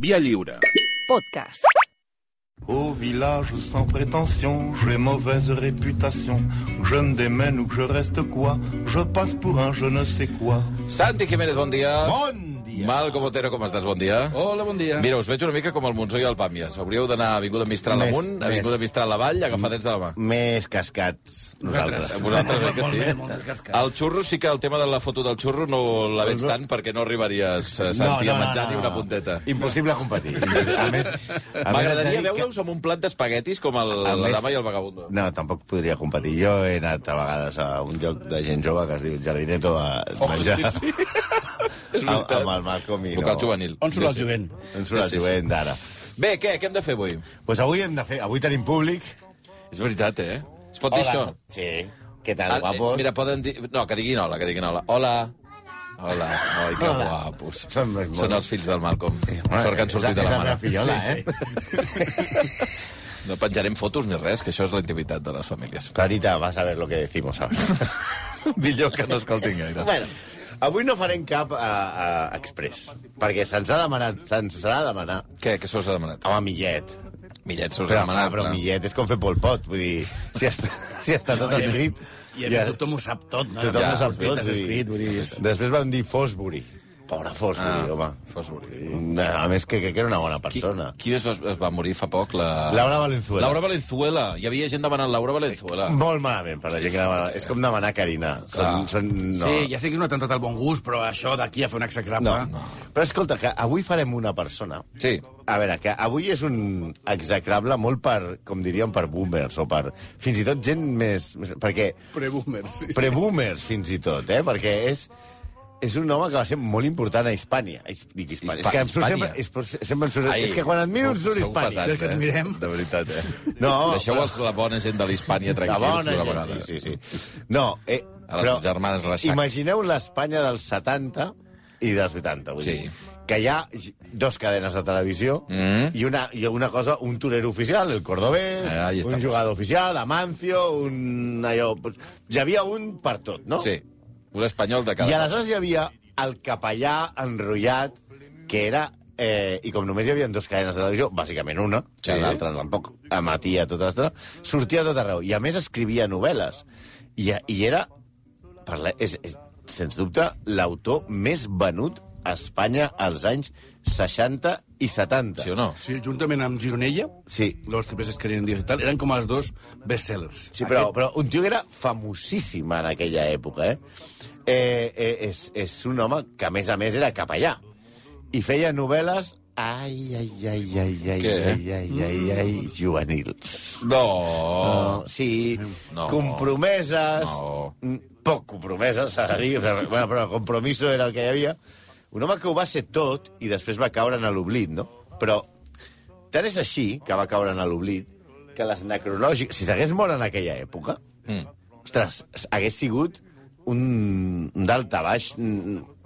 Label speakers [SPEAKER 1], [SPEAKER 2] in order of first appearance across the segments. [SPEAKER 1] Via lliure.
[SPEAKER 2] Podcast.
[SPEAKER 3] Au village sans prétention, j'ai mauvaise réputation. Que Je me démène ou que je reste quoi Je passe pour un je ne sais quoi.
[SPEAKER 4] Santi Jiménez, bon dia.
[SPEAKER 5] Bon dia.
[SPEAKER 4] Malcom Otero, com estàs? Bon dia.
[SPEAKER 5] Hola, bon dia.
[SPEAKER 4] Mira, us veig una mica com el Montsó i el Pàmies. Hauríeu d'anar a Avinguda Mistral
[SPEAKER 5] Més,
[SPEAKER 4] amunt, Avinguda
[SPEAKER 5] més.
[SPEAKER 4] Mistral avall, agafadets de la mà.
[SPEAKER 5] Més cascats nosaltres.
[SPEAKER 4] Vosaltres, oi que sí?
[SPEAKER 5] més cascats.
[SPEAKER 4] El xurro, sí que el tema de la foto del xurro no la veig tant perquè no arribaries, eh, Santi, a menjar ni una punteta.
[SPEAKER 5] Impossible competir. A més, a més, haig de
[SPEAKER 4] M'agradaria
[SPEAKER 5] dir que-
[SPEAKER 4] veure-us amb un plat d'espaguetis com el, la
[SPEAKER 5] a més-
[SPEAKER 4] dama i el vagabundo.
[SPEAKER 5] No, tampoc podria competir. Jo he anat a vegades a un lloc de gent jove que es diu Jardineto a menjar
[SPEAKER 4] Oh, sí, sí. És
[SPEAKER 5] amb,
[SPEAKER 4] veritat.
[SPEAKER 5] amb el Malcolm i
[SPEAKER 4] Vocal juvenil.
[SPEAKER 6] On surt el jovent?
[SPEAKER 5] On surt el
[SPEAKER 4] Sí, sí, sí.
[SPEAKER 5] jovent d'ara.
[SPEAKER 4] Bé, què? Què hem de fer avui?
[SPEAKER 5] Pues avui hem de fer... Avui tenim públic.
[SPEAKER 4] És veritat, eh? Es pot dir això?
[SPEAKER 5] Sí. Què tal,
[SPEAKER 4] Ah, eh,
[SPEAKER 5] guapos?
[SPEAKER 4] Mira, poden dir... No, que diguin hola, que diguin hola. Hola. Hola. Ai, que
[SPEAKER 5] Hola.
[SPEAKER 4] guapos.
[SPEAKER 5] Són més
[SPEAKER 4] Són
[SPEAKER 5] monos.
[SPEAKER 4] els fills del Malcolm. Sort que han sortit de
[SPEAKER 5] és
[SPEAKER 4] la
[SPEAKER 5] meva
[SPEAKER 4] mare.
[SPEAKER 5] fillola, eh?
[SPEAKER 4] No penjarem fotos ni res, que això és la intimitat de les famílies.
[SPEAKER 5] Clarita, vas a ver lo que decimos ahora.
[SPEAKER 4] Millor que no escoltin gaire.
[SPEAKER 5] bueno, avui no farem cap a, a express, perquè se'ns ha demanat, se'ns ha de demanar,
[SPEAKER 4] Què? Què se us ha demanat?
[SPEAKER 5] home, Millet.
[SPEAKER 4] Millet se us ha
[SPEAKER 5] Però, clar,
[SPEAKER 4] demanat.
[SPEAKER 5] però
[SPEAKER 4] clar.
[SPEAKER 5] Millet és com fer Pol Pot, vull dir, si està, si està tot escrit...
[SPEAKER 6] I a més tothom ho sap tot, no?
[SPEAKER 5] tothom
[SPEAKER 4] Ja,
[SPEAKER 5] ho sap
[SPEAKER 6] escrit,
[SPEAKER 5] tot.
[SPEAKER 6] has
[SPEAKER 5] vull dir.
[SPEAKER 6] escrit, vull dir... és-
[SPEAKER 5] Després van dir Fosbury. Pobre Fosbury,
[SPEAKER 4] Ah,
[SPEAKER 5] home.
[SPEAKER 4] Fosbury.
[SPEAKER 5] A més, que, que era una bona
[SPEAKER 4] Qui,
[SPEAKER 5] persona.
[SPEAKER 4] qui es, va, es va morir fa poc? La...
[SPEAKER 5] Laura Valenzuela.
[SPEAKER 4] Laura Valenzuela. Hi havia gent demanant Laura Valenzuela.
[SPEAKER 5] Molt malament, per la gent que demana. És com demanar Carina.
[SPEAKER 4] Clar.
[SPEAKER 5] Són, són, no.
[SPEAKER 6] Sí, ja sé que és un atemptat al bon gust, però això d'aquí a fer un execrable...
[SPEAKER 5] No, no. Però escolta, que avui farem una persona...
[SPEAKER 4] Sí.
[SPEAKER 5] A veure, que avui és un execrable molt per, com diríem, per boomers, o per fins i tot gent més... més perquè...
[SPEAKER 6] Preboomer, sí.
[SPEAKER 5] Pre-boomers, fins i tot, eh? Perquè és, és un home que va ser molt important a Hispània. His- Dic Hispània.
[SPEAKER 4] Hispa-
[SPEAKER 5] és que em surt
[SPEAKER 4] Hispània.
[SPEAKER 5] sempre... És, però sempre em surt,
[SPEAKER 4] Ai,
[SPEAKER 5] és que quan et miro em surt
[SPEAKER 4] sou
[SPEAKER 5] Hispània.
[SPEAKER 4] pesats,
[SPEAKER 6] Creus que et
[SPEAKER 4] eh?
[SPEAKER 6] mirem?
[SPEAKER 4] De veritat, eh?
[SPEAKER 5] No,
[SPEAKER 4] Deixeu
[SPEAKER 5] però-
[SPEAKER 4] els- la bona gent de l'Hispània
[SPEAKER 5] La
[SPEAKER 4] tranquils
[SPEAKER 5] bona
[SPEAKER 4] d'una
[SPEAKER 5] gent,
[SPEAKER 4] vegada.
[SPEAKER 5] sí, sí, sí. No, eh,
[SPEAKER 4] A les germanes Reixac.
[SPEAKER 5] Imagineu l'Espanya dels 70 i dels 80, vull
[SPEAKER 4] Sí.
[SPEAKER 5] dir. Que hi ha dos cadenes de televisió
[SPEAKER 4] Mm.
[SPEAKER 5] i, una, i una cosa, un torero oficial, el cordobès,
[SPEAKER 4] Ah, ahí
[SPEAKER 5] un
[SPEAKER 4] estamos.
[SPEAKER 5] jugador oficial, Amancio, un allò... pues, Hi havia un per tot, no?
[SPEAKER 4] Sí. Un espanyol de cada...
[SPEAKER 5] I aleshores hi havia el capellà enrotllat, que era... Eh, I com només hi havia dues cadenes de televisió, bàsicament una, sí.
[SPEAKER 4] Sí.
[SPEAKER 5] l'altra tampoc emetia tota l'estona, sortia a tot arreu. I a més escrivia novel·les. I, i era, per la, és, és, sens dubte, l'autor més venut a Espanya als anys 60 i 70.
[SPEAKER 4] Sí o no?
[SPEAKER 6] Sí, juntament amb Gironella,
[SPEAKER 5] Sí.
[SPEAKER 6] los tres que eren dios i tal, eren com els dos bestsellers.
[SPEAKER 5] Sí, però, però un tio que era famosíssim en aquella època, eh? eh, eh és, és un home que, a més a més, era capellà. I feia novel·les... Ai, ai, ai, ai, ai,
[SPEAKER 4] Què?
[SPEAKER 5] ai, ai, ai, ai, juvenils.
[SPEAKER 4] No.
[SPEAKER 5] No, sí,
[SPEAKER 4] No.
[SPEAKER 5] compromeses...
[SPEAKER 4] No.
[SPEAKER 5] mm, Poc compromeses, s'ha de dir, però, bueno, però compromiso era el que hi havia. Un home que ho va ser tot i després va caure en l'oblit, no? Però tant és així que va caure en l'oblit que les necrològiques... Si s'hagués mort en aquella època, mm. ostres, hagués sigut un d'alta baix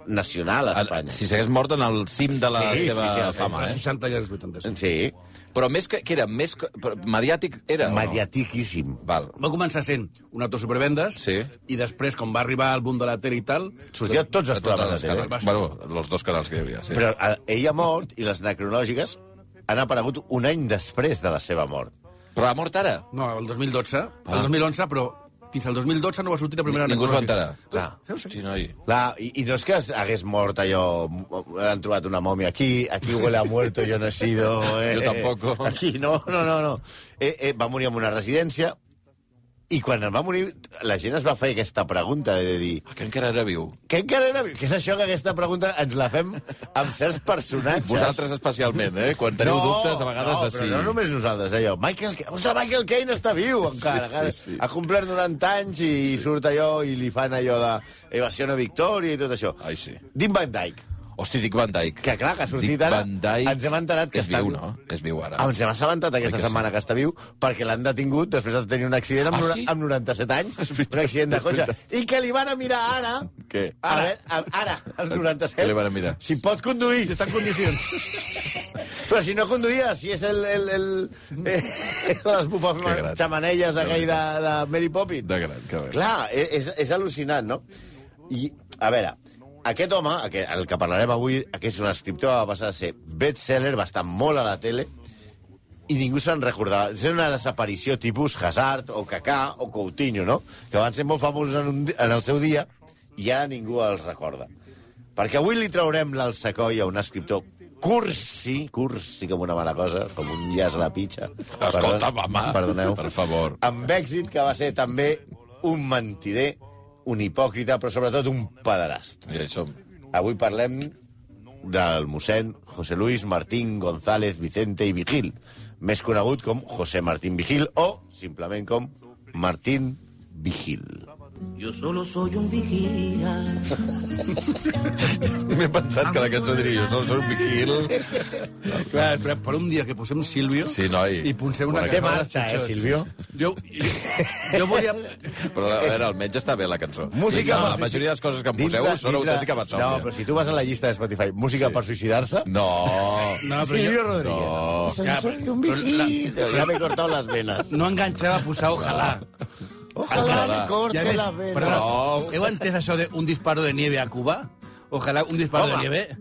[SPEAKER 5] nacional a
[SPEAKER 4] Ara,
[SPEAKER 5] Espanya.
[SPEAKER 4] Si s'hagués mort en el cim de la
[SPEAKER 5] Sí,
[SPEAKER 4] seva
[SPEAKER 5] sí, sí, el
[SPEAKER 4] fama,
[SPEAKER 6] Entre
[SPEAKER 4] eh?
[SPEAKER 6] 60 i els 80. Sí.
[SPEAKER 5] Sí,
[SPEAKER 4] Però més que, que era més... que- però Mediàtic era... o no?
[SPEAKER 5] mediatiquíssim.
[SPEAKER 4] Val.
[SPEAKER 6] Va començar sent un autor supervendes,
[SPEAKER 4] Sí.
[SPEAKER 6] i després, com va arribar al boom de la tele i tal...
[SPEAKER 5] Sortia a tots els
[SPEAKER 4] De totes
[SPEAKER 5] programes
[SPEAKER 4] les
[SPEAKER 5] de tele.
[SPEAKER 4] canals. Bueno, els dos canals que hi havia, sí.
[SPEAKER 5] Però eh, ell ha mort i les necrològiques han aparegut un any després de la seva mort.
[SPEAKER 4] Però ha mort ara.
[SPEAKER 6] No, el 2012, ah. el 2011, però fins al 2012 no va sortir la primera...
[SPEAKER 4] Ningú es va
[SPEAKER 6] necrològica.
[SPEAKER 4] enterar.
[SPEAKER 5] Clar.
[SPEAKER 6] Sí, ho sé.
[SPEAKER 4] Sí, noi.
[SPEAKER 5] La, i, I no és que es- hagués mort allò... m- Han trobat una mòmia aquí, aquí huele a muerto, yo no he sido... Eh,
[SPEAKER 4] Yo tampoco.
[SPEAKER 5] Aquí, no, no, no. no. Eh, eh, va morir en una residència i quan en va morir la gent es va fer aquesta pregunta de dir
[SPEAKER 4] Ah, Que encara era viu.
[SPEAKER 5] que encara era... Que és això que aquesta pregunta ens la fem amb certs personatges.
[SPEAKER 4] Vosaltres especialment, eh? Quan teniu dubtes, a vegades...
[SPEAKER 5] no,
[SPEAKER 4] de
[SPEAKER 5] però
[SPEAKER 4] si-
[SPEAKER 5] no només nosaltres, allò. Michael Caine, ostres, Michael Caine està viu encara.
[SPEAKER 4] sí,
[SPEAKER 5] encara.
[SPEAKER 4] sí.
[SPEAKER 5] Ha complert 90 anys i surt allò i li fan allò de evasió no victòria i tot això.
[SPEAKER 4] Ai, sí.
[SPEAKER 5] Dean Van Dyke,
[SPEAKER 4] Hosti, Dick Van Dyke.
[SPEAKER 5] que clar, que ha sortit
[SPEAKER 4] Dick
[SPEAKER 5] ara...
[SPEAKER 4] Van Dyke
[SPEAKER 5] Ens hem enterat que
[SPEAKER 4] és
[SPEAKER 5] està
[SPEAKER 4] viu,
[SPEAKER 5] viu.
[SPEAKER 4] no? És viu ara.
[SPEAKER 5] Ah, ens hem assabentat aquesta
[SPEAKER 4] Oi que sí?
[SPEAKER 5] setmana que està viu perquè l'han detingut després de tenir un accident amb,
[SPEAKER 4] Ah,
[SPEAKER 5] nora-
[SPEAKER 4] sí?
[SPEAKER 5] amb 97 anys,
[SPEAKER 4] veritat,
[SPEAKER 5] un accident de
[SPEAKER 4] és
[SPEAKER 5] cotxe,
[SPEAKER 4] veritat.
[SPEAKER 5] i que li van a mirar ara...
[SPEAKER 4] Què?
[SPEAKER 5] A veure, a- ara, als 97.
[SPEAKER 4] Què li van a mirar?
[SPEAKER 5] Si pot conduir.
[SPEAKER 6] Està en condicions.
[SPEAKER 5] Però si no conduïa, si és el... el, el eh,
[SPEAKER 4] Que
[SPEAKER 5] les
[SPEAKER 4] gran.
[SPEAKER 5] bufes xamanelles aquell de, de Mary Poppins. eh,
[SPEAKER 4] De gran, que bé.
[SPEAKER 5] Clar, és, és al·lucinant, no? I, a veure, Aquest home, aquest- el que parlarem avui, aquest és un escriptor, va passar a ser bestseller, va estar molt a la tele, i ningú se'n recordava. És una desaparició tipus Hazard, o Kaká, o Coutinho, no? Que van ser molt famosos en, un, di- en el seu dia, i ara ningú els recorda. Perquè avui li traurem l'alçacoll a un escriptor cursi, cursi com una mala cosa, com un llaç a la pitxa.
[SPEAKER 4] Escolta, mama,
[SPEAKER 5] Perdoneu.
[SPEAKER 4] per favor.
[SPEAKER 5] Amb èxit que va ser també un mentider, un hipòcrita, però sobretot un pederast.
[SPEAKER 4] Ja hi som.
[SPEAKER 5] Avui parlem del mossèn José Luis Martín González Vicente i Vigil, més conegut com José Martín Vigil o, simplement, com Martín Vigil.
[SPEAKER 1] Yo solo soy un vigía.
[SPEAKER 4] M'he pensat que la cançó diria jo sóc un vigil.
[SPEAKER 6] Clar, per, per un dia que posem Silvio
[SPEAKER 4] Sí, noi.
[SPEAKER 6] i posem una
[SPEAKER 4] Bona
[SPEAKER 5] Té
[SPEAKER 4] Té
[SPEAKER 5] marxa, eh, Silvio?
[SPEAKER 6] Jo, jo, jo volia...
[SPEAKER 4] Però, a veure, almenys està bé la cançó.
[SPEAKER 5] Música
[SPEAKER 4] no,
[SPEAKER 5] per
[SPEAKER 4] la majoria de les coses que em
[SPEAKER 5] Dintre-
[SPEAKER 4] poseu són
[SPEAKER 5] dintre-
[SPEAKER 4] autèntica batsòmia.
[SPEAKER 5] No, però si tu vas a la llista de Spotify, música per suïcidar-se...
[SPEAKER 4] No.
[SPEAKER 6] No, però
[SPEAKER 5] Silvio
[SPEAKER 6] jo
[SPEAKER 5] Rodríguez.
[SPEAKER 4] No.
[SPEAKER 5] Soy-
[SPEAKER 6] Ja,
[SPEAKER 5] soy un
[SPEAKER 6] però la-
[SPEAKER 5] vigil. Ya me he cortado las venas.
[SPEAKER 6] no enganxava a posar Ojalá.
[SPEAKER 5] Ojalá me corte
[SPEAKER 6] I a més,
[SPEAKER 5] las venas.
[SPEAKER 6] perdona,
[SPEAKER 4] No.
[SPEAKER 6] heu entès això de un disparo de nieve a Cuba? Ojalá un disparo
[SPEAKER 5] Home.
[SPEAKER 6] de nieve.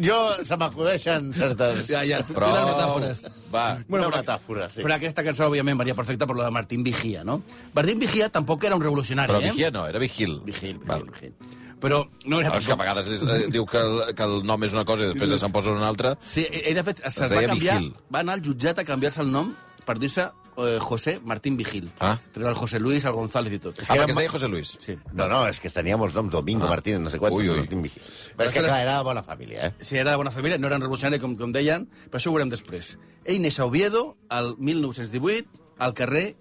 [SPEAKER 5] Jo, se m'acudeixen certes...
[SPEAKER 6] Ja, ja, tu, tu
[SPEAKER 4] Prou.
[SPEAKER 6] les metàfores.
[SPEAKER 4] Va.
[SPEAKER 5] Una
[SPEAKER 6] però-
[SPEAKER 5] metàfora, sí.
[SPEAKER 6] Però aquesta cançó, òbviament, varia perfecta per lo de Martín Vigía, no? Martín Vigía tampoc era un revolucionari,
[SPEAKER 4] Però
[SPEAKER 6] eh?
[SPEAKER 4] vigia no, era vigil.
[SPEAKER 6] Vigil, Vigil,
[SPEAKER 4] Val.
[SPEAKER 6] Vigil. Però no era...
[SPEAKER 4] Ah, és que a vegades és- eh, diu que el, que el nom és una cosa i després se'n posa una altra.
[SPEAKER 6] Sí, ell, de fet, es,
[SPEAKER 4] Es
[SPEAKER 6] va
[SPEAKER 4] deia
[SPEAKER 6] canviar...
[SPEAKER 4] Vigil.
[SPEAKER 6] Va anar al jutjat a canviar-se el nom per dir-se eh, José Martín Vigil.
[SPEAKER 4] Ah.
[SPEAKER 6] Treure el José Luis, el González i tot.
[SPEAKER 4] Ah, perquè es deia José Luis.
[SPEAKER 6] Sí.
[SPEAKER 5] No, no, és que tenia molts noms, Domingo,
[SPEAKER 4] Ah.
[SPEAKER 5] ah. Martínez, no sé quantos,
[SPEAKER 4] Ui,
[SPEAKER 5] ui,
[SPEAKER 4] ui.
[SPEAKER 5] ui. Martín Vigil. Però és que, clar, era de bona família, eh?
[SPEAKER 6] si era de bona família, no eren revolucionari, com, com deien, però això ho veurem després. Ell neix a Oviedo, al 1918, al carrer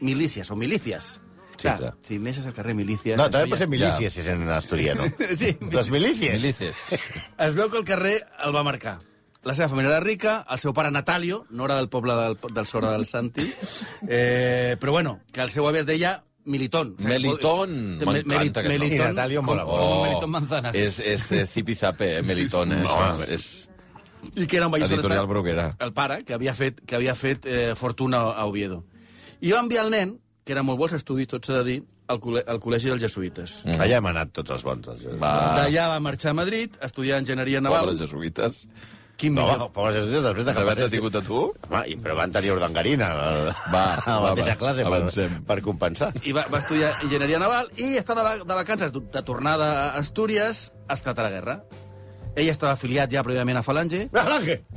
[SPEAKER 6] Milícies, o Milícies.
[SPEAKER 5] Sí, clar.
[SPEAKER 6] Si neixes al carrer Milícies...
[SPEAKER 5] No,
[SPEAKER 6] es
[SPEAKER 5] també
[SPEAKER 6] veia-
[SPEAKER 5] pot ser milícies, si és en asturiano.
[SPEAKER 6] Sí,
[SPEAKER 5] Les milícies.
[SPEAKER 4] Milices.
[SPEAKER 6] es veu que el carrer el va marcar. La seva família era rica, el seu pare Natalio, no era del poble del, del Sora del Santi, eh, però bueno, que el seu avi es deia Militón.
[SPEAKER 4] Melitón.
[SPEAKER 6] Me-
[SPEAKER 4] M'encanta
[SPEAKER 6] Meli-
[SPEAKER 4] aquest nom.
[SPEAKER 6] Melitón,
[SPEAKER 5] I Natalio
[SPEAKER 6] com,
[SPEAKER 5] mola molt.
[SPEAKER 4] Oh,
[SPEAKER 6] com Melitón Manzanas.
[SPEAKER 4] És, és eh, zipizape, eh, Melitón. Eh? No, és
[SPEAKER 5] Oh,
[SPEAKER 6] I que era un vallisoletà.
[SPEAKER 4] Editorial Bruguera.
[SPEAKER 6] El pare, que havia fet, que havia fet eh, fortuna a Oviedo. I va enviar el nen, que era molt bons estudis, tot s'ha de dir, al, col·le al col·legi dels jesuïtes. Mm.
[SPEAKER 5] Allà hem anat tots els bons. Els...
[SPEAKER 4] Va.
[SPEAKER 6] D'allà va marxar a Madrid, a estudiar enginyeria naval.
[SPEAKER 4] Pobres jesuïtes.
[SPEAKER 6] Quin
[SPEAKER 5] No,
[SPEAKER 6] millor...
[SPEAKER 5] pobres jesuïtes, després de que
[SPEAKER 4] D'haver-te
[SPEAKER 5] passés...
[SPEAKER 4] tingut a tu?
[SPEAKER 5] Home, i- però van tenir ordangarina el...
[SPEAKER 4] Va,
[SPEAKER 5] a
[SPEAKER 4] va,
[SPEAKER 5] la mateixa
[SPEAKER 4] va,
[SPEAKER 5] classe per,
[SPEAKER 4] avancem.
[SPEAKER 5] per compensar.
[SPEAKER 6] I va, va estudiar enginyeria naval i està de, va- de vacances, de de tornada a Astúries, esclatà la guerra. Ell estava afiliat ja prèviament a Falange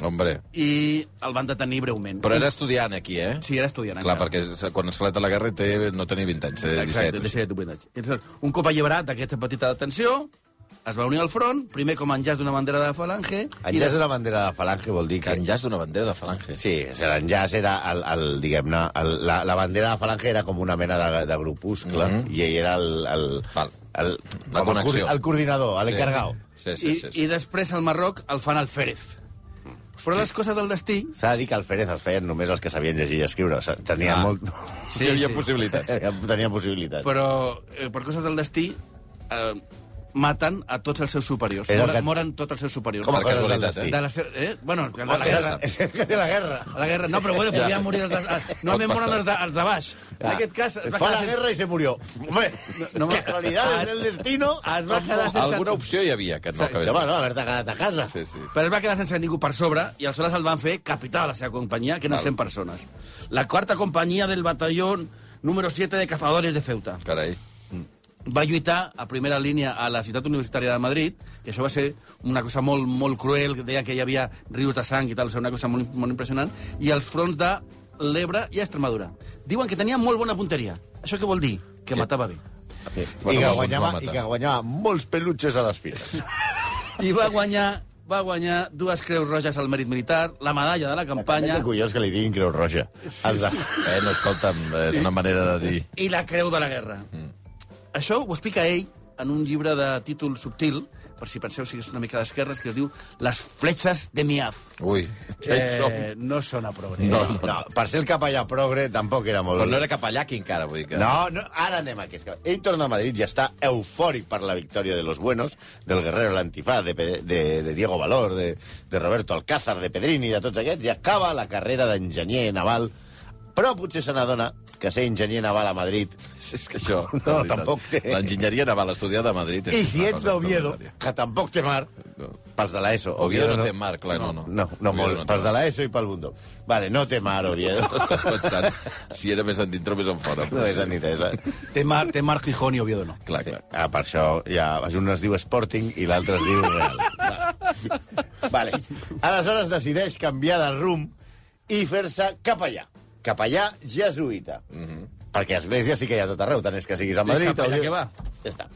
[SPEAKER 4] Hombre.
[SPEAKER 6] i el van detenir breument.
[SPEAKER 4] Però era estudiant aquí, eh?
[SPEAKER 6] Sí, era estudiant.
[SPEAKER 4] Clar,
[SPEAKER 6] encara.
[SPEAKER 4] perquè s- quan esclata la guerra té, no tenia 20 anys, eh? té
[SPEAKER 6] Exacte,
[SPEAKER 4] 17.
[SPEAKER 6] 17, 18 anys. Llavors, Un cop alliberat d'aquesta petita detenció, es va unir al front, primer com a enllaç d'una bandera de falange... i
[SPEAKER 5] Enllaç d'una bandera de falange vol dir
[SPEAKER 4] Que
[SPEAKER 5] que...
[SPEAKER 4] enllaç d'una bandera de falange.
[SPEAKER 5] Sí, és a dir, l'enllaç era, el, el, diguem-ne, el- la, la bandera de falange era com una mena de, de grupuscle, i ell era el... el,
[SPEAKER 4] Mhm. Val.
[SPEAKER 5] el,
[SPEAKER 4] La
[SPEAKER 5] com el,
[SPEAKER 4] connexió.
[SPEAKER 5] coor- el coordinador, l'encargau.
[SPEAKER 4] Sí, sí,
[SPEAKER 6] I,
[SPEAKER 4] sí.
[SPEAKER 6] I
[SPEAKER 4] sí.
[SPEAKER 6] després al Marroc el fan al Férez.
[SPEAKER 5] Mm.
[SPEAKER 6] Però les coses del destí...
[SPEAKER 5] S'ha de dir que el Férez els feien només els que sabien llegir i escriure. Sa- Tenia
[SPEAKER 4] Ah.
[SPEAKER 5] ah. molt...
[SPEAKER 4] Sí, hi havia possibilitats.
[SPEAKER 5] Tenia possibilitats. Però...
[SPEAKER 6] Però eh, per coses del destí eh, maten a tots els seus superiors.
[SPEAKER 5] És el
[SPEAKER 6] Moren,
[SPEAKER 5] que-
[SPEAKER 6] moren tots els seus superiors.
[SPEAKER 5] Com a
[SPEAKER 4] Per
[SPEAKER 5] coses del
[SPEAKER 4] casualitat,
[SPEAKER 5] destí.
[SPEAKER 6] de la seu, eh? Bueno, de la
[SPEAKER 5] És
[SPEAKER 6] guerra.
[SPEAKER 5] el- és el que té la guerra.
[SPEAKER 6] A la guerra. No, però bueno, podien morir els de, normalment
[SPEAKER 4] Pot passar.
[SPEAKER 6] moren els de, els de baix. En aquest cas... es
[SPEAKER 5] Ah.
[SPEAKER 6] va
[SPEAKER 5] Fa
[SPEAKER 6] quedar
[SPEAKER 5] la
[SPEAKER 6] sense-
[SPEAKER 5] guerra i se murió. Home,
[SPEAKER 6] No,
[SPEAKER 5] no,
[SPEAKER 6] no,
[SPEAKER 5] casualidades
[SPEAKER 6] es-
[SPEAKER 5] del destino.
[SPEAKER 6] es va quedar sense-
[SPEAKER 4] Alguna opció hi havia, que no
[SPEAKER 5] Home,
[SPEAKER 4] acabés.
[SPEAKER 5] no, haver-te quedat a casa.
[SPEAKER 4] Sí, sí.
[SPEAKER 6] Però es va quedar sense ningú per sobre i aleshores el van fer capità de la seva companyia, que eren 100 persones. La quarta companyia del batalló número 7 de cazadores de Ceuta.
[SPEAKER 4] Carai.
[SPEAKER 6] Va lluitar a primera línia a la ciutat universitària de Madrid, que això va ser una cosa molt, molt cruel, que deia que hi havia rius de sang i tal, o sigui, una cosa molt, molt impressionant, i els fronts de l'Ebre i Extremadura. Diuen que tenia molt bona punteria. Això què vol dir? Que matava bé.
[SPEAKER 5] I, que
[SPEAKER 4] alguns
[SPEAKER 5] guanyava,
[SPEAKER 4] va
[SPEAKER 5] I
[SPEAKER 4] matar.
[SPEAKER 5] que guanyava molts pelutxes a les fires.
[SPEAKER 6] I va guanyar va guanyar dues creus roges al mèrit militar, la medalla de la
[SPEAKER 5] Panya.
[SPEAKER 6] campanya...
[SPEAKER 5] Que collons que li diguin Creu Roja. Els de...
[SPEAKER 4] Eh, no, escolta'm, és una manera de dir...
[SPEAKER 6] i la creu de la guerra. Mm. Això ho explica ell en un llibre de títol subtil, per si penseu si és una mica d'esquerres, que es diu Les fletxes de Miaz.
[SPEAKER 4] Ui, eh... som...
[SPEAKER 6] Eh, no sona prou.
[SPEAKER 4] No,
[SPEAKER 6] No.
[SPEAKER 4] no, no.
[SPEAKER 5] No, per ser el capellà progre tampoc era molt...
[SPEAKER 4] Però no era capellaki encara, vull dir que...
[SPEAKER 5] No, no, ara anem a aquest. cas. Ell torna a Madrid i està eufòric per la victòria de los buenos, del guerrero l'antifaz, de, Pe- de, de Diego Valor, de, de Roberto Alcázar, de Pedrini, de tots aquests, i acaba la carrera d'enginyer naval. Però potser se n'adona que ser enginyer naval a Madrid.
[SPEAKER 4] Sí, és que això...
[SPEAKER 5] No,
[SPEAKER 4] la veritat,
[SPEAKER 5] tampoc té.
[SPEAKER 4] L'enginyeria naval estudiada a Madrid...
[SPEAKER 5] I
[SPEAKER 4] és
[SPEAKER 5] si
[SPEAKER 4] una
[SPEAKER 5] ets
[SPEAKER 4] cosa
[SPEAKER 5] d'Oviedo,
[SPEAKER 4] extraordinària.
[SPEAKER 5] que tampoc té mar,
[SPEAKER 4] No.
[SPEAKER 5] pels de l'ESO.
[SPEAKER 4] Oviedo no té mar, clar, no, no.
[SPEAKER 5] No, no
[SPEAKER 4] Oviedo
[SPEAKER 5] molt.
[SPEAKER 4] no té
[SPEAKER 5] pels de
[SPEAKER 4] mar.
[SPEAKER 5] l'ESO i pel Bundó. Vale, no té mar, Oviedo.
[SPEAKER 4] Pensant si era més endintre o més en fora.
[SPEAKER 5] no és entesa.
[SPEAKER 6] Té mar, té mar Gijón i Oviedo no.
[SPEAKER 4] Clar, clar.
[SPEAKER 5] Ah, per això ja, un es diu Sporting i l'altre es diu Real. Va. Vale. Aleshores decideix canviar de rumb i fer-se capellà. Capellà jesuïta. Mm
[SPEAKER 6] Mhm.
[SPEAKER 5] -hmm. Perquè església sí que hi ha a tot arreu, tant és que siguis a Madrid...
[SPEAKER 6] capellà
[SPEAKER 5] o-
[SPEAKER 6] que va.
[SPEAKER 5] Ja està.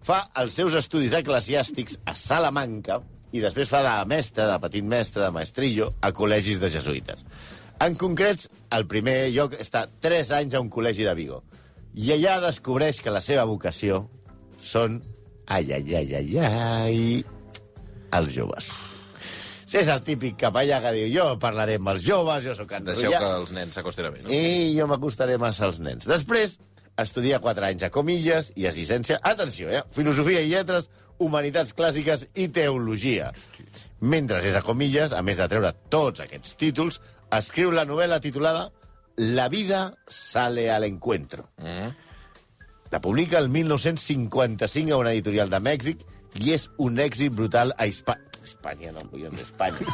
[SPEAKER 5] Fa els seus estudis eclesiàstics a Salamanca i després fa de mestre, de petit mestre, de maestrillo, a col·legis de jesuïtes. En concrets, el primer lloc està 3 anys a un col·legi de Vigo. I allà descobreix que la seva vocació són... Ai, ai, ai, ai, ai... Els joves. Si és el típic capellà que diu, jo parlaré amb els joves, jo sóc
[SPEAKER 4] Deixeu
[SPEAKER 5] enrotllà...
[SPEAKER 4] que els nens s'acostin a mi, no?
[SPEAKER 5] I jo m'acostaré massa als nens. Després, estudia 4 anys a Comillas i és llicència... Atenció, eh? Filosofia i lletres, humanitats clàssiques i teologia. Mentre és a Comillas, a més de treure tots aquests títols, escriu la novel·la titulada La vida sale al encuentro. La publica el 1955 a una editorial de Mèxic i és un èxit brutal a Hispà... Espanya, no, collons, Espanya.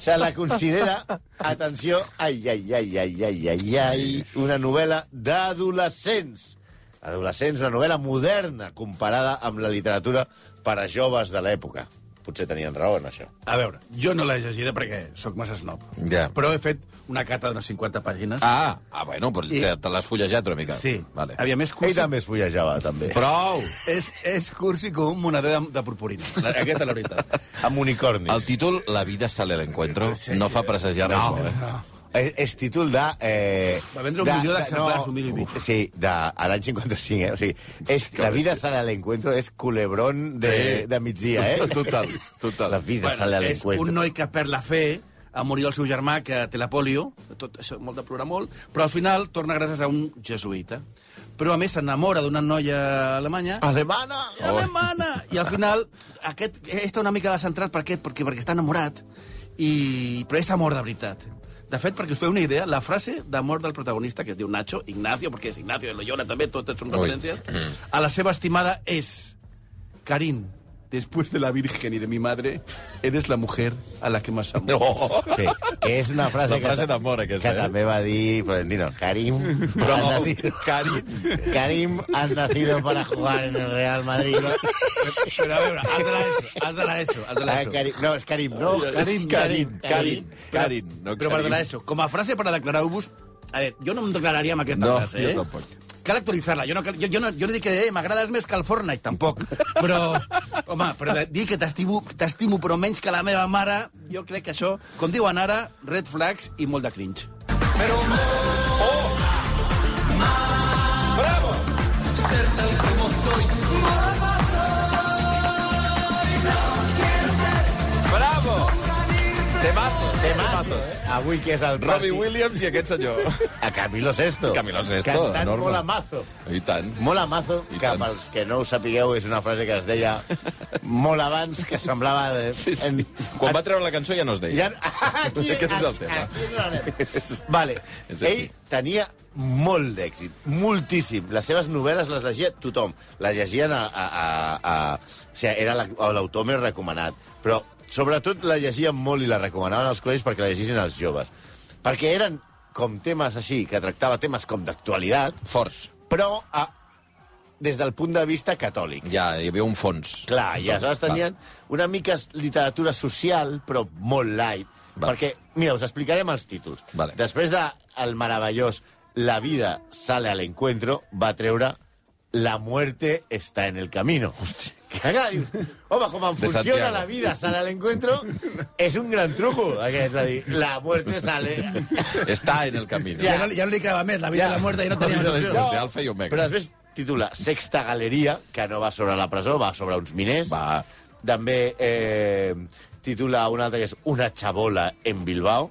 [SPEAKER 5] Se la considera, atenció, ai, ai, ai, ai, ai, ai, ai, una novel·la d'adolescents. Adolescents, una novel·la moderna comparada amb la literatura per a joves de l'època. Potser tenien raó en això.
[SPEAKER 6] A veure, jo no l'he llegida perquè sóc massa snob.
[SPEAKER 4] Ja.
[SPEAKER 6] Però he fet una cata d'unes 50 pàgines.
[SPEAKER 4] Ah, ah, bueno, però
[SPEAKER 6] I-
[SPEAKER 4] te, te l'has fullejat una mica.
[SPEAKER 6] Sí.
[SPEAKER 4] Vale.
[SPEAKER 6] Havia més
[SPEAKER 5] Ell
[SPEAKER 6] cursi...
[SPEAKER 5] també es fullejava, també. Però...
[SPEAKER 4] Prou!
[SPEAKER 6] És, és cursi com un moneder de, de purpurina. La- Aquesta és la veritat.
[SPEAKER 5] Amb unicornis.
[SPEAKER 4] El títol La vida sale a l'encuentro no fa presagiar res
[SPEAKER 5] No,
[SPEAKER 4] molt, eh?
[SPEAKER 5] és, és títol de... Eh,
[SPEAKER 6] Va vendre un milió d'exemplars, un milió i mig.
[SPEAKER 5] uf, Sí, de, a l'any 55, eh? O sigui, és, la vida sale a l'encuentro és culebrón de,
[SPEAKER 4] Sí.
[SPEAKER 5] de migdia, eh?
[SPEAKER 4] Total, total.
[SPEAKER 5] La vida sale a
[SPEAKER 6] és un
[SPEAKER 5] l'encuentro.
[SPEAKER 6] noi que perd la fe a morir el seu germà, que té la polio, tot això, molt de plorar molt, però al final torna gràcies a un jesuïta. Però, a més, s'enamora d'una noia alemanya...
[SPEAKER 5] Ah, Alemana!
[SPEAKER 4] Oh.
[SPEAKER 6] alemana! I al final, aquest està una mica descentrat, per què? Perquè, perquè està enamorat, i... però és amor de veritat. De fet, perquè us feu una idea, la frase d'amor del protagonista, que es diu Nacho, Ignacio, perquè és Ignacio de Loyola també, totes
[SPEAKER 4] Ui.
[SPEAKER 6] són
[SPEAKER 4] Mm.
[SPEAKER 6] referències, a la seva estimada és... Karin, después de la Virgen y de mi madre, eres la mujer a la que más amo.
[SPEAKER 4] No.
[SPEAKER 5] Sí, que és una frase,
[SPEAKER 4] La frase
[SPEAKER 5] que, ta-
[SPEAKER 4] d'amor, aquesta,
[SPEAKER 5] que
[SPEAKER 4] eh?
[SPEAKER 5] també va dir Florentino. Karim, ha
[SPEAKER 4] Prou,
[SPEAKER 5] nacido,
[SPEAKER 4] Karim.
[SPEAKER 5] Karim has nacido para jugar en el Real Madrid. No,
[SPEAKER 6] Però a veure, has de l'ESO, has de l'ESO, has de
[SPEAKER 5] ah,
[SPEAKER 6] l'ESO.
[SPEAKER 5] Karim, no és Karim, no.
[SPEAKER 6] Karim,
[SPEAKER 5] Karim,
[SPEAKER 4] Karin, Karin, no
[SPEAKER 6] Però per
[SPEAKER 4] Karim.
[SPEAKER 6] de l'ESO, com a frase per a declarar-vos... A veure, jo no em declararia amb aquesta
[SPEAKER 4] No,
[SPEAKER 6] frase,
[SPEAKER 4] jo
[SPEAKER 6] eh?
[SPEAKER 4] tampoc.
[SPEAKER 6] Cal actualitzar-la. Jo no, cal- jo, jo, no, jo no dic que eh, m'agrades més que el Fortnite, tampoc. Però, home, però de, dir que t'estimo t'estimo però menys que la meva mare, jo crec que això, com diuen ara, red flags i molt de cringe.
[SPEAKER 4] Bravo! Temazo. Temazo.
[SPEAKER 5] Avui que és el
[SPEAKER 4] Robbie
[SPEAKER 5] party...
[SPEAKER 4] Williams i aquest senyor.
[SPEAKER 5] A Camilo Sesto.
[SPEAKER 4] Camilo Sesto,
[SPEAKER 5] Cantant
[SPEAKER 4] enorme.
[SPEAKER 5] molt a mazo.
[SPEAKER 4] I tant.
[SPEAKER 5] Mola mazo,
[SPEAKER 4] I
[SPEAKER 5] que
[SPEAKER 4] tant.
[SPEAKER 5] pels que no ho sapigueu és una frase que es deia molt abans, que semblava... De...
[SPEAKER 4] Sí, sí. Quan va treure la cançó ja no es deia.
[SPEAKER 5] Ja... Aquí,
[SPEAKER 4] Aquest és el
[SPEAKER 5] aquí-
[SPEAKER 4] tema.
[SPEAKER 5] Aquí és on anem.
[SPEAKER 4] És-
[SPEAKER 5] Vale.
[SPEAKER 4] és així.
[SPEAKER 5] Ell tenia molt d'èxit, moltíssim. Les seves novel·les les llegia tothom. Les llegien a... a, a, a... O sigui, era la- l'autor més recomanat. Però, sobretot, la llegien molt i la recomanaven als col·legis perquè la llegissin als joves. Perquè eren com temes així, que tractava temes com d'actualitat,
[SPEAKER 4] Forts.
[SPEAKER 5] però a, des del punt de vista catòlic.
[SPEAKER 4] Ja, hi havia un fons.
[SPEAKER 5] Clar, i aleshores tenien una mica literatura social, però molt light.
[SPEAKER 4] Va.
[SPEAKER 5] Perquè, mira, us explicarem els títols.
[SPEAKER 4] Vale.
[SPEAKER 5] Després de El meravellós La vida sale al encuentro, va treure La muerte está en el camino. Que, clar, dius, Home, com en
[SPEAKER 4] De
[SPEAKER 5] funciona
[SPEAKER 4] Santiago.
[SPEAKER 5] la vida sale al encuentro, és un gran truco, aquest, és a dir, la muerte sale...
[SPEAKER 4] Està en el camí.
[SPEAKER 5] Ja.
[SPEAKER 6] no, ja no li quedava més, la vida
[SPEAKER 5] Ja.
[SPEAKER 6] i la mort, ja no
[SPEAKER 4] Tenia
[SPEAKER 6] tenia més
[SPEAKER 4] la
[SPEAKER 6] opció.
[SPEAKER 4] de Alfa i Omega.
[SPEAKER 5] Però després titula Sexta Galeria, que no va sobre la presó, va sobre uns miners.
[SPEAKER 4] Va.
[SPEAKER 5] També eh, titula una altra que és Una xabola en Bilbao.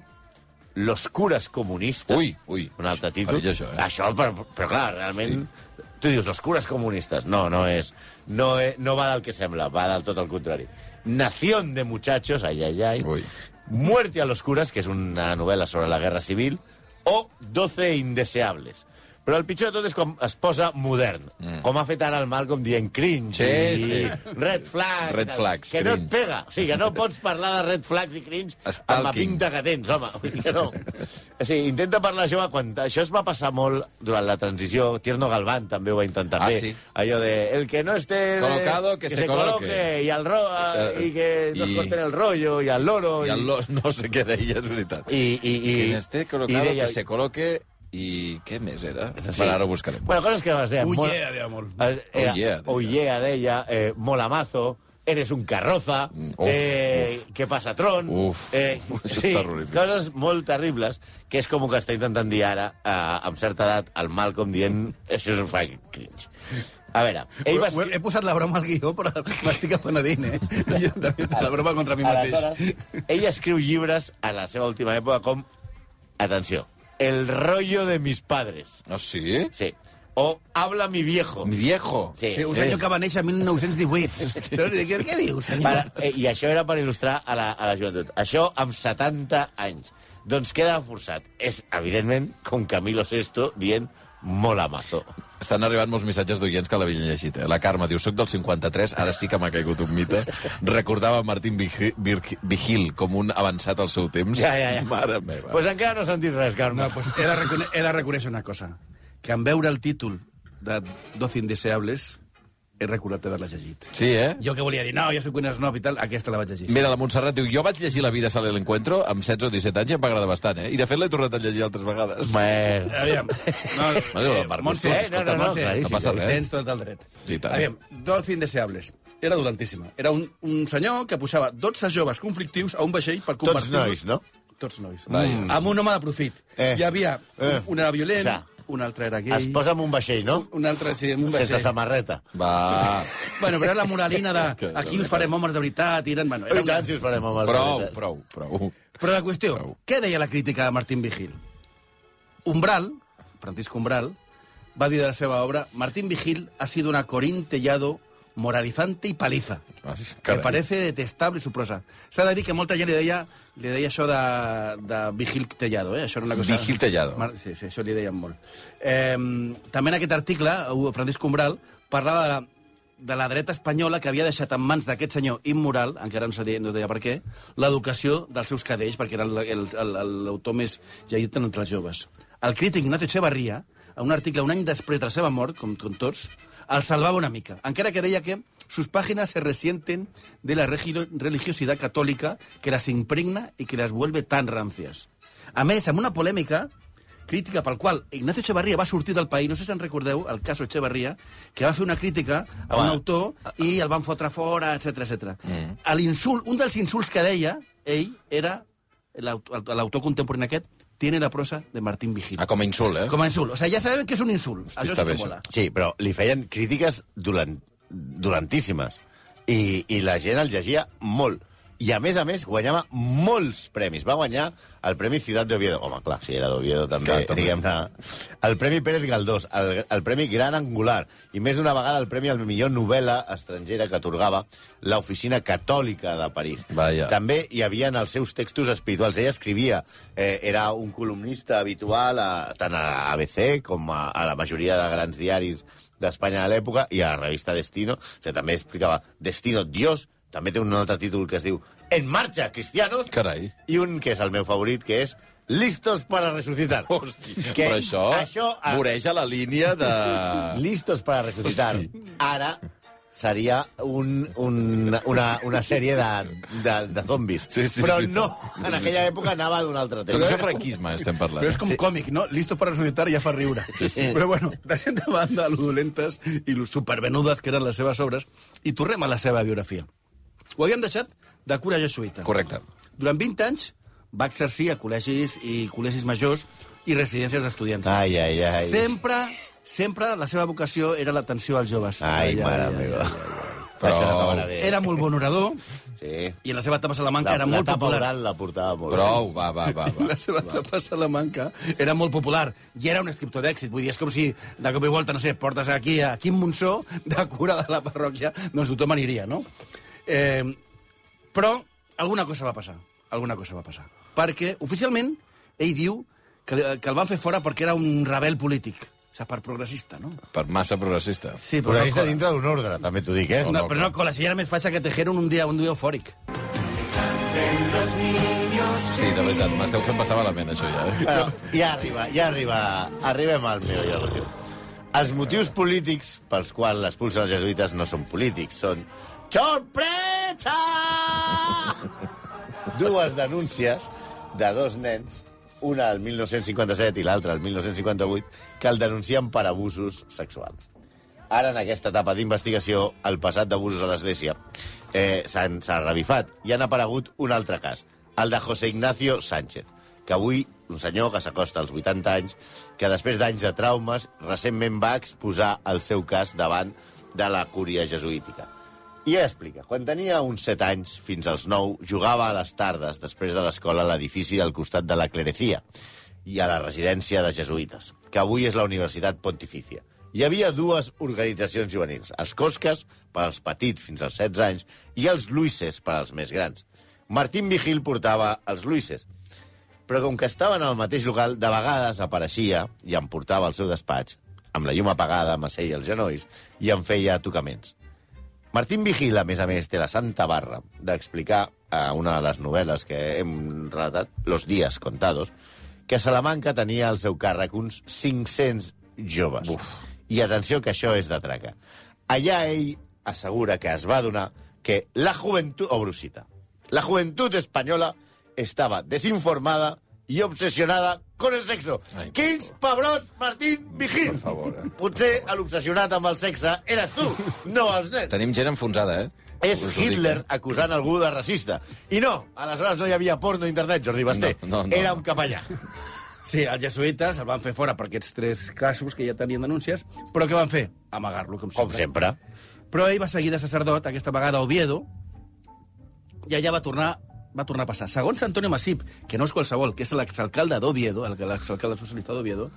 [SPEAKER 5] Los curas comunistes.
[SPEAKER 4] Ui, ui.
[SPEAKER 5] Un altre títol.
[SPEAKER 4] Perill, això, eh?
[SPEAKER 5] això però, però clar, realment... Tu dius, los curas comunistes. No, no és... No, eh, no va del que sembla, va del tot el contrari. Nación de muchachos, ai, ai, ai.
[SPEAKER 4] Ui.
[SPEAKER 5] Muerte a los curas, que és una novel·la sobre la guerra civil. o 12 indeseables. Però el pitjor de tot és quan es posa modern, mm. com ha fet ara el Malcolm dient cringe
[SPEAKER 4] Sí,
[SPEAKER 5] i
[SPEAKER 4] sí.
[SPEAKER 5] red flags.
[SPEAKER 4] Red flags,
[SPEAKER 5] Que no et
[SPEAKER 4] cringe.
[SPEAKER 5] pega. O sigui, que no pots parlar de red flags i cringe amb la
[SPEAKER 4] Stalking.
[SPEAKER 5] pinta que tens, home. Vull dir Que no. O sigui, intenta parlar això quan... Això es va passar molt durant la transició. Tierno Galván també ho va intentar
[SPEAKER 4] Ah,
[SPEAKER 5] fer.
[SPEAKER 4] sí?
[SPEAKER 5] Allò de... El que no esté... eh,
[SPEAKER 4] Colocado, que se coloque."
[SPEAKER 5] I, el ro...
[SPEAKER 4] Eh,
[SPEAKER 5] I que no
[SPEAKER 4] i-
[SPEAKER 5] corten el rollo, i el loro...
[SPEAKER 4] I el, lo- no sé què deia, és veritat.
[SPEAKER 5] I, i, i,
[SPEAKER 4] I, Quien esté colocado,
[SPEAKER 5] i
[SPEAKER 4] deia...
[SPEAKER 5] deia-
[SPEAKER 4] que se coloque... I què més era?
[SPEAKER 5] Sí.
[SPEAKER 4] Bueno, ara ho buscarem.
[SPEAKER 5] Bueno, coses que vas deien...
[SPEAKER 6] Oh,
[SPEAKER 5] mola-
[SPEAKER 6] yeah, de amor.
[SPEAKER 5] Eh, Era,
[SPEAKER 4] Oh, yeah, de
[SPEAKER 5] oh, yeah, de ella, eh, mola mazo, eres un carroza,
[SPEAKER 4] Mm, uf,
[SPEAKER 5] eh, què passa, Tron...
[SPEAKER 4] Uf,
[SPEAKER 5] eh,
[SPEAKER 4] uf, això és
[SPEAKER 5] sí,
[SPEAKER 4] terrorífic.
[SPEAKER 5] coses molt terribles, que és com el que està intentant dir ara, eh, amb certa edat, el Malcolm dient... Això és un fan cringe. A veure, ell va...
[SPEAKER 6] Ho he, he posat la broma al guió, però m'estic apenedint, eh? Jo també, la broma contra mi mateix.
[SPEAKER 5] Aleshores, ell escriu llibres a la seva última època com... Atenció, El rollo de mis padres.
[SPEAKER 4] Ah, sí?
[SPEAKER 5] Sí. O Habla mi viejo.
[SPEAKER 4] Mi viejo.
[SPEAKER 5] Sí.
[SPEAKER 6] Sí, un senyor que va néixer el 1918. Però dic, Què, què dius, senyor?
[SPEAKER 5] Per, eh, I això era per il·lustrar a la, a la joventut. Això amb 70 anys. Doncs queda forçat. És, evidentment, com Camilo Sesto dient mola mazo.
[SPEAKER 4] Estan arribant molts missatges d'oients que l'havien llegit. Eh? La Carme diu, soc del 53, ara sí que m'ha caigut un mite. Recordava Martín Vigi- Vir- Vigil com un avançat al seu temps.
[SPEAKER 5] Ja, ja, ja.
[SPEAKER 4] Mare meva.
[SPEAKER 5] Pues encara no s'han dit res, Carme.
[SPEAKER 6] No, pues he, de recone he de reconèixer una cosa. Que en veure el títol de 12 indeseables he recordat haver-la llegit.
[SPEAKER 4] Sí, eh?
[SPEAKER 6] Jo que volia dir, no, jo sóc un snob i tal, aquesta la vaig llegir.
[SPEAKER 4] Mira, la Montserrat diu, jo vaig llegir La vida sale l'encuentro amb 16 o 17 anys i em va agradar bastant, eh? I de fet l'he tornat a llegir altres vegades.
[SPEAKER 5] Bueno,
[SPEAKER 6] Aviam. No, eh,
[SPEAKER 4] Bueno, la part
[SPEAKER 6] Montse,
[SPEAKER 4] gustos,
[SPEAKER 6] eh, no, no, no,
[SPEAKER 5] escolta,
[SPEAKER 6] Montse,
[SPEAKER 5] claríssim,
[SPEAKER 6] no passa res.
[SPEAKER 4] eh?
[SPEAKER 6] Tens tot el dret.
[SPEAKER 4] Sí, tant.
[SPEAKER 6] Aviam, Dolce Indeseables. Era dolentíssima. Era un, un senyor que posava 12 joves conflictius a un vaixell per
[SPEAKER 5] tots
[SPEAKER 6] convertir-los...
[SPEAKER 5] nois, no?
[SPEAKER 6] Tots nois.
[SPEAKER 4] Vaja.
[SPEAKER 6] Mm. Amb un home de profit.
[SPEAKER 5] Eh.
[SPEAKER 6] Eh. Hi havia
[SPEAKER 5] Eh.
[SPEAKER 6] eh. un era violent,
[SPEAKER 5] O sea,
[SPEAKER 6] un altre era gay...
[SPEAKER 5] Es posa en un vaixell, no?
[SPEAKER 6] Un altre, sí, amb un vaixell.
[SPEAKER 5] Sense samarreta.
[SPEAKER 4] Va,
[SPEAKER 6] Bueno, però era la moralina de aquí us farem homes de veritat, i eren... Bueno, era
[SPEAKER 5] I
[SPEAKER 6] una...
[SPEAKER 5] tant, si us farem amb els
[SPEAKER 4] prou,
[SPEAKER 5] veritats.
[SPEAKER 4] prou, prou.
[SPEAKER 6] Però la qüestió, què deia la crítica de Martín Vigil? Umbral, Francisco Umbral, va dir de la seva obra Martín Vigil ha sido un acorintellado moralizante y paliza.
[SPEAKER 4] Ah,
[SPEAKER 6] Que
[SPEAKER 4] carai.
[SPEAKER 6] parece detestable su prosa. S'ha de dir que molta gent li deia, li deia això de, de Vigil Tellado, eh? Això era una cosa...
[SPEAKER 4] Vigil Tellado.
[SPEAKER 6] Mar... Sí, sí, això li deien molt. Eh, també en aquest article, eh, Francisco Umbral parlava de la, de la dreta espanyola que havia deixat en mans d'aquest senyor immoral, encara no, s'ha dit, no deia per què, l'educació dels seus cadells, perquè era el- el- el- l'autor més llegit entre els joves. El crític Ignacio Echevarría, a un article un any després de la seva mort, com, com tots, el salvava una mica, encara que deia que sus páginas se resienten de la regio- religiosidad católica que las impregna y que las vuelve tan rancias. A més, amb una polèmica crítica pel qual Ignacio Echevarría va sortir del país, no sé si en recordeu el cas Echevarría, que va fer una crítica a un
[SPEAKER 5] Home.
[SPEAKER 6] autor i el van fotre fora, etc etc. Ah. Mm. Insult, un dels insults que deia ell era l'aut- l'autor contemporani aquest tiene la prosa de Martín Vigil.
[SPEAKER 4] Ah, com a insult, eh?
[SPEAKER 6] Com a insult. O sigui, ja sabem que és un insult. Això
[SPEAKER 4] està
[SPEAKER 6] sí
[SPEAKER 4] bé,
[SPEAKER 6] que
[SPEAKER 4] això.
[SPEAKER 6] mola.
[SPEAKER 5] Sí, però li feien crítiques dolent, dolentíssimes. I, I la gent el llegia molt. I, a més a més, guanyava molts premis. Va guanyar el Premi Ciutat d'Oviedo. Home, clar, si era d'Oviedo també,
[SPEAKER 4] Clar, també.
[SPEAKER 5] diguem-ne. El Premi Pérez Galdós, el, el Premi Gran Angular, i més d'una vegada el Premi al millor novel·la estrangera que atorgava l'Oficina Catòlica de París.
[SPEAKER 4] Vaja.
[SPEAKER 5] També també hi havia en els seus textos espirituals. Ella escrivia, eh, era un columnista habitual a, tant a ABC com a, a la majoria de grans diaris d'Espanya de l'època i a la revista Destino. O sigui, també explicava Destino Dios, també té un altre títol que es diu En marxa, cristianos!
[SPEAKER 4] Carai.
[SPEAKER 5] I un que és el meu favorit, que és Listos para resucitar.
[SPEAKER 4] Hosti, però això, això
[SPEAKER 5] a-
[SPEAKER 4] voreja la línia de...
[SPEAKER 5] Listos para resucitar. Ara seria un, un, una, una sèrie de, de, de zombis.
[SPEAKER 4] Sí, sí,
[SPEAKER 5] Però
[SPEAKER 4] sí.
[SPEAKER 5] no, en aquella època anava d'un altre
[SPEAKER 4] Però
[SPEAKER 5] tema.
[SPEAKER 4] això franquisme estem parlant.
[SPEAKER 6] Però és com sí. còmic, no? Listos para resucitar ja fa riure. Sí, sí. Però bueno, deixem de banda lo dolentes i lo supervenudes que eren les seves obres i tornem a la seva biografia. Ho havíem deixat de cura jesuïta.
[SPEAKER 4] Correcte.
[SPEAKER 6] Durant 20 anys va exercir a col·legis i col·legis majors i residències d'estudiants.
[SPEAKER 5] Ai, ai, ai.
[SPEAKER 6] Sempre, sempre la seva vocació era l'atenció als joves.
[SPEAKER 5] Ai, mare meva.
[SPEAKER 4] Però-
[SPEAKER 5] Això no acabarà bé.
[SPEAKER 6] Era molt bon orador
[SPEAKER 5] Sí.
[SPEAKER 6] i en la seva etapa a Salamanca
[SPEAKER 5] La,
[SPEAKER 6] era
[SPEAKER 5] la
[SPEAKER 6] molt
[SPEAKER 5] tapa
[SPEAKER 6] popular.
[SPEAKER 5] oral la portava molt
[SPEAKER 4] Prou, va, va, va. va.
[SPEAKER 6] La seva etapa a Salamanca era molt popular i era un escriptor d'èxit. Vull dir, és com si de cop i volta, no sé, portes aquí a Quim Monsó de cura de la parròquia, doncs tothom aniria, no? Eh, però alguna cosa va passar. Alguna cosa va passar. Perquè, oficialment, ell diu que, li- que el van fer fora perquè era un rebel polític. O sigui, per progressista, no?
[SPEAKER 4] Per massa progressista.
[SPEAKER 6] Sí,
[SPEAKER 5] Però està dintre d'un ordre, també t'ho dic, eh?
[SPEAKER 6] No, pero no, con la señora me facha que tejeron un día, un día eufórico.
[SPEAKER 4] Sí, de veritat, m'esteu fent passar malament, això ja. Eh?
[SPEAKER 5] Bueno, ja arriba, ja arriba. Arribem al meu, ja ho Els motius polítics pels quals l'expulsen els jesuïtes no són polítics, són... Sorpresa! Dues denúncies de dos nens, una el 1957 i l'altra el 1958, que el denuncien per abusos sexuals. Ara, en aquesta etapa d'investigació, el passat d'abusos a l'Església eh, s'han- s'ha revifat i han aparegut un altre cas, el de José Ignacio Sánchez, que avui, un senyor que s'acosta als 80 anys, que després d'anys de traumes, recentment va exposar el seu cas davant de la cúria jesuítica. I explica, quan tenia uns 7 anys, fins als 9, jugava a les tardes, després de l'escola, a l'edifici del costat de la Clerecia i a la residència de jesuïtes, que avui és la Universitat Pontifícia. Hi havia dues organitzacions juvenils, els Cosques, per als petits fins als 16 anys, i els Luises, per als més grans. Martín Vigil portava els Luises, però com que estaven al mateix local, de vegades apareixia i em portava al seu despatx, amb la llum apagada, m'asseia als genolls i em feia tocaments. Martín Vigil, a més a més, té la santa barra d'explicar a una de les novel·les que hem relatat, Los días contados, que a Salamanca tenia al seu càrrec uns 500 joves. Uf. I atenció, que això és de traca. Allà ell assegura que es va donar que la joventut... O brusita. La joventut espanyola estava desinformada i obsessionada con el sexo.
[SPEAKER 4] Ai, per
[SPEAKER 5] Quins pebrots, Martín Vigil!
[SPEAKER 4] Per favor, eh?
[SPEAKER 5] Potser l'obsessionat amb el sexe eres tu, no els nens.
[SPEAKER 4] Tenim gent enfonsada, eh?
[SPEAKER 5] És
[SPEAKER 4] Us ho dic,
[SPEAKER 5] Hitler
[SPEAKER 4] eh?
[SPEAKER 5] acusant algú de racista. I no, aleshores no hi havia porno a internet, Jordi Basté.
[SPEAKER 4] No, no, no.
[SPEAKER 5] Era un capellà.
[SPEAKER 6] Sí, els jesuïtes el van fer fora per aquests tres casos que ja tenien denúncies, però què van fer? Amagar-lo, com
[SPEAKER 5] Com
[SPEAKER 6] sempre.
[SPEAKER 5] sempre.
[SPEAKER 6] Però ell va seguir de sacerdot, aquesta vegada a Oviedo, i allà va tornar va tornar a passar. Segons Antonio Masip, que no és qualsevol, que és l'exalcalde d'Oviedo, el que- l'exalcalde socialista d'Oviedo,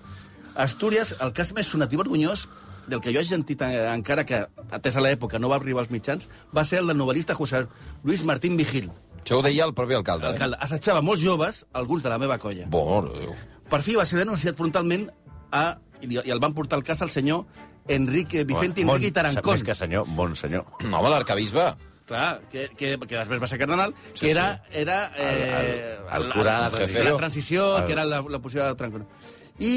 [SPEAKER 6] Astúries, el cas més sonat i vergonyós del que jo he sentit eh, encara que, atesa l'època, no va arribar als mitjans, va ser el del novel·lista José Luis Martín Vigil.
[SPEAKER 4] Això ho deia el propi alcalde.
[SPEAKER 6] Alcalde, assetjava molts joves, alguns de la meva colla.
[SPEAKER 4] Eh? Bon, Déu.
[SPEAKER 6] Per fi va ser denunciat frontalment a, i, li- i el van portar al cas al senyor Enrique, Vicente
[SPEAKER 5] Mon-
[SPEAKER 6] Enrique Tarancón.
[SPEAKER 5] Més que senyor, bon senyor.
[SPEAKER 4] Home, l'arcabisbe.
[SPEAKER 6] Clar, que, que, que després va ser cardenal, que
[SPEAKER 4] Sí,
[SPEAKER 6] era... era
[SPEAKER 5] El- el- el cura de la
[SPEAKER 6] jefe.
[SPEAKER 5] transició.
[SPEAKER 6] La transició,
[SPEAKER 5] El-
[SPEAKER 6] que era la, la posició de Tarancón. I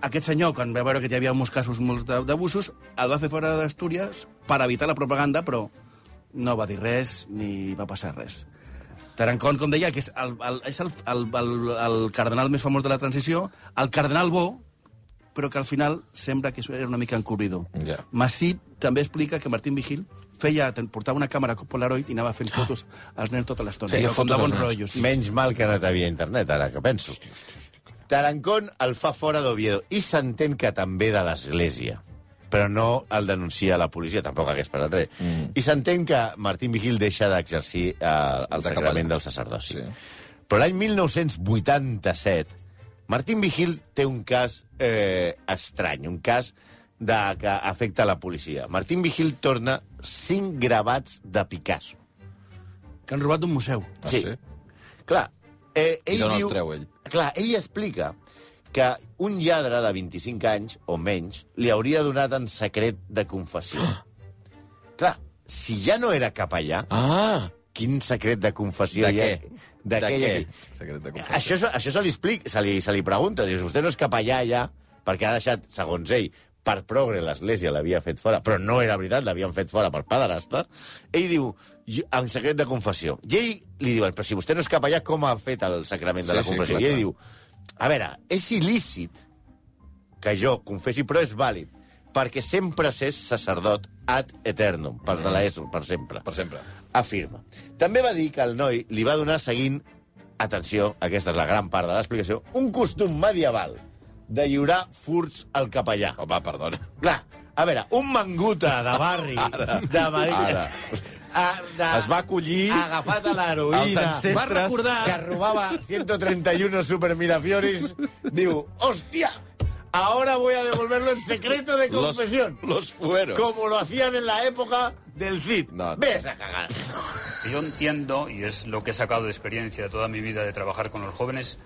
[SPEAKER 6] aquest senyor, quan va veure que hi havia molts casos molts de- d'abusos, el va fer fora d'Astúries per evitar la propaganda, però no va dir res ni va passar res. Tarancón, com deia, que és, el, el, és el, el, el, el cardenal més famós de la transició, el cardenal bo, però que al final sembla que era una mica encobridor.
[SPEAKER 4] Ja.
[SPEAKER 6] Masip també explica que Martín Vigil feia, portava una càmera Polaroid i anava fent fotos als nens tota l'estona.
[SPEAKER 4] Ah. Feia
[SPEAKER 6] Era com
[SPEAKER 4] fotos
[SPEAKER 6] de
[SPEAKER 4] als
[SPEAKER 6] bons
[SPEAKER 4] nens.
[SPEAKER 6] rotllos. Sí.
[SPEAKER 5] Menys mal que no t'havia internet, ara que penso. Tarancón el fa fora d'Oviedo i s'entén que també de l'Església però no el denuncia la policia, tampoc hagués passat res. Mm. I s'entén que Martín Vigil deixa d'exercir eh, el
[SPEAKER 4] De
[SPEAKER 5] sacrament
[SPEAKER 4] capellà.
[SPEAKER 5] del sacerdoci.
[SPEAKER 4] Sí.
[SPEAKER 5] Sí. Però l'any 1987, Martín Vigil té un cas eh, estrany, un cas de, que afecta la policia. Martín Vigil torna cinc gravats de Picasso.
[SPEAKER 6] Que han robat d'un museu.
[SPEAKER 4] Ah,
[SPEAKER 5] Sí.
[SPEAKER 4] sí?
[SPEAKER 5] Clar, eh, ell
[SPEAKER 4] I d'on els
[SPEAKER 5] diu...
[SPEAKER 4] treu, ell?
[SPEAKER 5] Clar, ell explica que un lladre de 25 anys o menys li hauria donat en secret de confessió. Clar, si ja no era capellà,
[SPEAKER 4] Ah!
[SPEAKER 5] quin secret de confessió
[SPEAKER 4] De
[SPEAKER 5] hi ha?
[SPEAKER 4] què?
[SPEAKER 5] De,
[SPEAKER 4] De
[SPEAKER 5] què? hi ha
[SPEAKER 4] què?
[SPEAKER 5] aquí?
[SPEAKER 4] Secret de confessió.
[SPEAKER 5] Això, se- això se li, explica, se li, se li pregunta. Dius, vostè no és capellà ja, perquè ha deixat, segons ell, per progre l'Església l'havia fet fora, però no era veritat, l'havien fet fora per pederasta. Ell diu, "Jo- en secret de confessió. I ell li diuen, però si vostè no és capellà, com ha fet el sacrament de
[SPEAKER 4] Sí,
[SPEAKER 5] la
[SPEAKER 4] sí,
[SPEAKER 5] confessió?
[SPEAKER 4] clar,
[SPEAKER 5] I ell
[SPEAKER 4] clar.
[SPEAKER 5] diu, a veure, és il·lícit que jo confessi, però és vàlid, perquè sempre s'és sacerdot ad eternum, pels de l'ESO, per sempre
[SPEAKER 4] Mm. Per sempre.
[SPEAKER 5] afirma. També va dir que el noi li va donar seguint, atenció, aquesta és la gran part de l'explicació, un costum medieval de lliurar furts al capellà.
[SPEAKER 4] Home, Oh, perdona.
[SPEAKER 5] Clar, a veure, un manguta de barri de Madrid...
[SPEAKER 4] Ara.
[SPEAKER 5] A, de,
[SPEAKER 4] Es va acollir
[SPEAKER 5] agafat a l'heroïna,
[SPEAKER 4] als ancestres.
[SPEAKER 5] va recordar que robava 131 supermirafioris, diu, hòstia, ahora voy a devolverlo en secreto de
[SPEAKER 4] Los,
[SPEAKER 5] confesión.
[SPEAKER 4] los fueros.
[SPEAKER 5] Como lo hacían en la época del Cid.
[SPEAKER 4] No, no.
[SPEAKER 5] Ves a cagar.
[SPEAKER 2] que yo entiendo, y es lo que he sacado de experiencia de toda mi vida de trabajar con los jóvenes,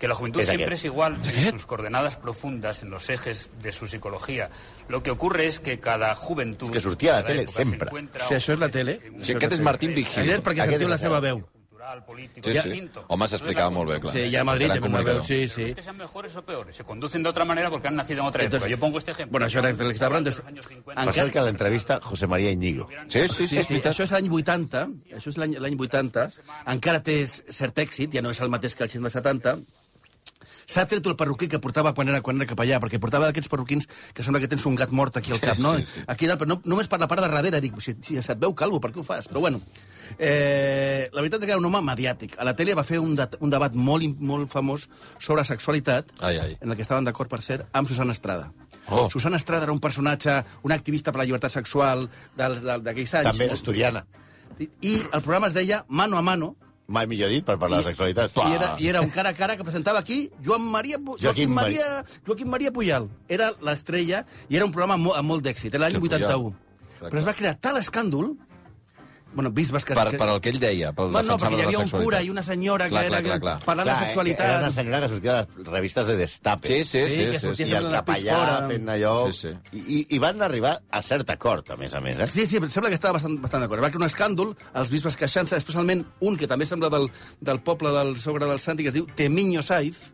[SPEAKER 2] Que la juventud
[SPEAKER 5] Es
[SPEAKER 2] siempre
[SPEAKER 5] aquest.
[SPEAKER 2] es igual en sus coordenadas profundas, en los ejes de su psicología. Lo que ocurre es que cada juventud...
[SPEAKER 5] És que sortia a la
[SPEAKER 2] cada
[SPEAKER 5] tele
[SPEAKER 2] època, se
[SPEAKER 5] sempre.
[SPEAKER 2] encuentra-
[SPEAKER 6] O sigui, això és la tele.
[SPEAKER 2] en un
[SPEAKER 4] O sigui, aquest és Martín Vigil.
[SPEAKER 6] Ayer perquè
[SPEAKER 5] Aquest
[SPEAKER 6] sentiu
[SPEAKER 5] és
[SPEAKER 6] la
[SPEAKER 5] el
[SPEAKER 6] seva
[SPEAKER 5] cel.
[SPEAKER 6] veu.
[SPEAKER 2] cultural, político,
[SPEAKER 4] Sí, sí.
[SPEAKER 2] distinto.
[SPEAKER 4] Home, s'explicava molt bé, clar.
[SPEAKER 6] Sí, ja a Madrid
[SPEAKER 4] Gran
[SPEAKER 6] també una veu.
[SPEAKER 4] comunicador.
[SPEAKER 6] Sí,
[SPEAKER 2] No
[SPEAKER 6] sí.
[SPEAKER 2] es que sean mejores o peores, se conducen de otra manera porque han nacido en otra
[SPEAKER 6] Entonces-
[SPEAKER 2] época. Yo pongo este ejemplo.
[SPEAKER 6] Bueno, això era el que li estava hablando.
[SPEAKER 2] Los años 50,
[SPEAKER 5] Per
[SPEAKER 6] Encara-
[SPEAKER 5] cert, que a l'entrevista, José María Íñigo.
[SPEAKER 4] Sí, sí, sí,
[SPEAKER 6] Sí,
[SPEAKER 4] és
[SPEAKER 6] sí,
[SPEAKER 4] veritat.
[SPEAKER 6] això és l'any 80, això és l'any l'any 80, encara té cert èxit, ja no és el mateix que el cinc de 70, s'ha tret el perruquí que portava quan era, quan era cap allà, perquè portava d'aquests perruquins que sembla que tens un gat mort aquí al cap, no?
[SPEAKER 4] Sí, sí.
[SPEAKER 6] Aquí dalt, però no, només per la part de darrere, dic, si, si se't veu calvo, per què ho fas? Però bueno, eh, la veritat és que era un home mediàtic. A la tele va fer un, dat, un debat molt, im- molt famós sobre sexualitat,
[SPEAKER 4] Ai, ai.
[SPEAKER 6] en el que estaven d'acord, per cert, amb Susana Estrada.
[SPEAKER 4] Oh.
[SPEAKER 6] Susana Estrada era un personatge, un activista per la llibertat sexual del- del- d'aquells anys.
[SPEAKER 5] També era asturiana.
[SPEAKER 6] I el programa es deia Mano a Mano,
[SPEAKER 5] Mai millor dit per parlar de sexualitat.
[SPEAKER 6] i era, i era un cara a cara que presentava aquí Joan Maria, Pu-
[SPEAKER 5] Joaquim
[SPEAKER 6] Joaquim, Maria, Joaquim Maria Puyal. Era l'estrella i era un programa mo, amb molt d'èxit, era l'any
[SPEAKER 4] Que Puyal.
[SPEAKER 6] 81. Però es va crear tal escàndol... Bueno, bisbes que...
[SPEAKER 4] Per,
[SPEAKER 6] que-
[SPEAKER 4] per el que ell deia, pel
[SPEAKER 6] Bueno, no,
[SPEAKER 4] defensar
[SPEAKER 6] perquè hi
[SPEAKER 4] la
[SPEAKER 6] havia un
[SPEAKER 4] sexualitat.
[SPEAKER 6] cura i una senyora
[SPEAKER 4] clar,
[SPEAKER 6] que
[SPEAKER 4] clar,
[SPEAKER 6] era
[SPEAKER 4] clar, clar.
[SPEAKER 6] parlant
[SPEAKER 5] Clar,
[SPEAKER 6] de sexualitat.
[SPEAKER 5] eh, Era una senyora que sortia a les revistes de Destape.
[SPEAKER 4] Sí, sí, sí.
[SPEAKER 6] que
[SPEAKER 4] sí, sí,
[SPEAKER 6] sortia
[SPEAKER 5] I el
[SPEAKER 6] Sembla la
[SPEAKER 5] capellà
[SPEAKER 6] pistora.
[SPEAKER 5] fent allò...
[SPEAKER 4] Sí,
[SPEAKER 5] sí. I, I van arribar a cert acord, a més a més, eh?
[SPEAKER 6] Sí, sí, sembla que estava bastant, bastant d'acord. Va crear un escàndol, els bisbes queixant-se, especialment un que també sembla del, del poble del sogre del Santi, que es diu Temiño Saiz.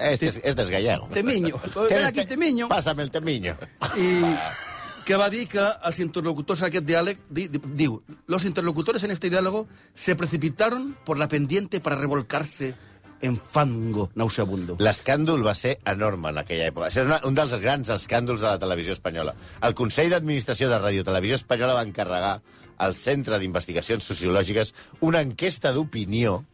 [SPEAKER 5] Este es, este es gallego. este?
[SPEAKER 6] Temiño. Ven aquí, Temiño.
[SPEAKER 5] Pásame el temiño.
[SPEAKER 6] y que va a decir que los interlocutores en aquest diàleg, di- di- diu, los interlocutores en este diálogo se precipitaron por la pendiente para revolcarse en fango nauseabundo.
[SPEAKER 5] L'escàndol va ser enorme en aquella època. Això és una, un dels grans escàndols de la televisió espanyola. El Consell d'Administració de Radio Televisió Espanyola va encarregar al Centre d'Investigacions Sociològiques una enquesta d'opinió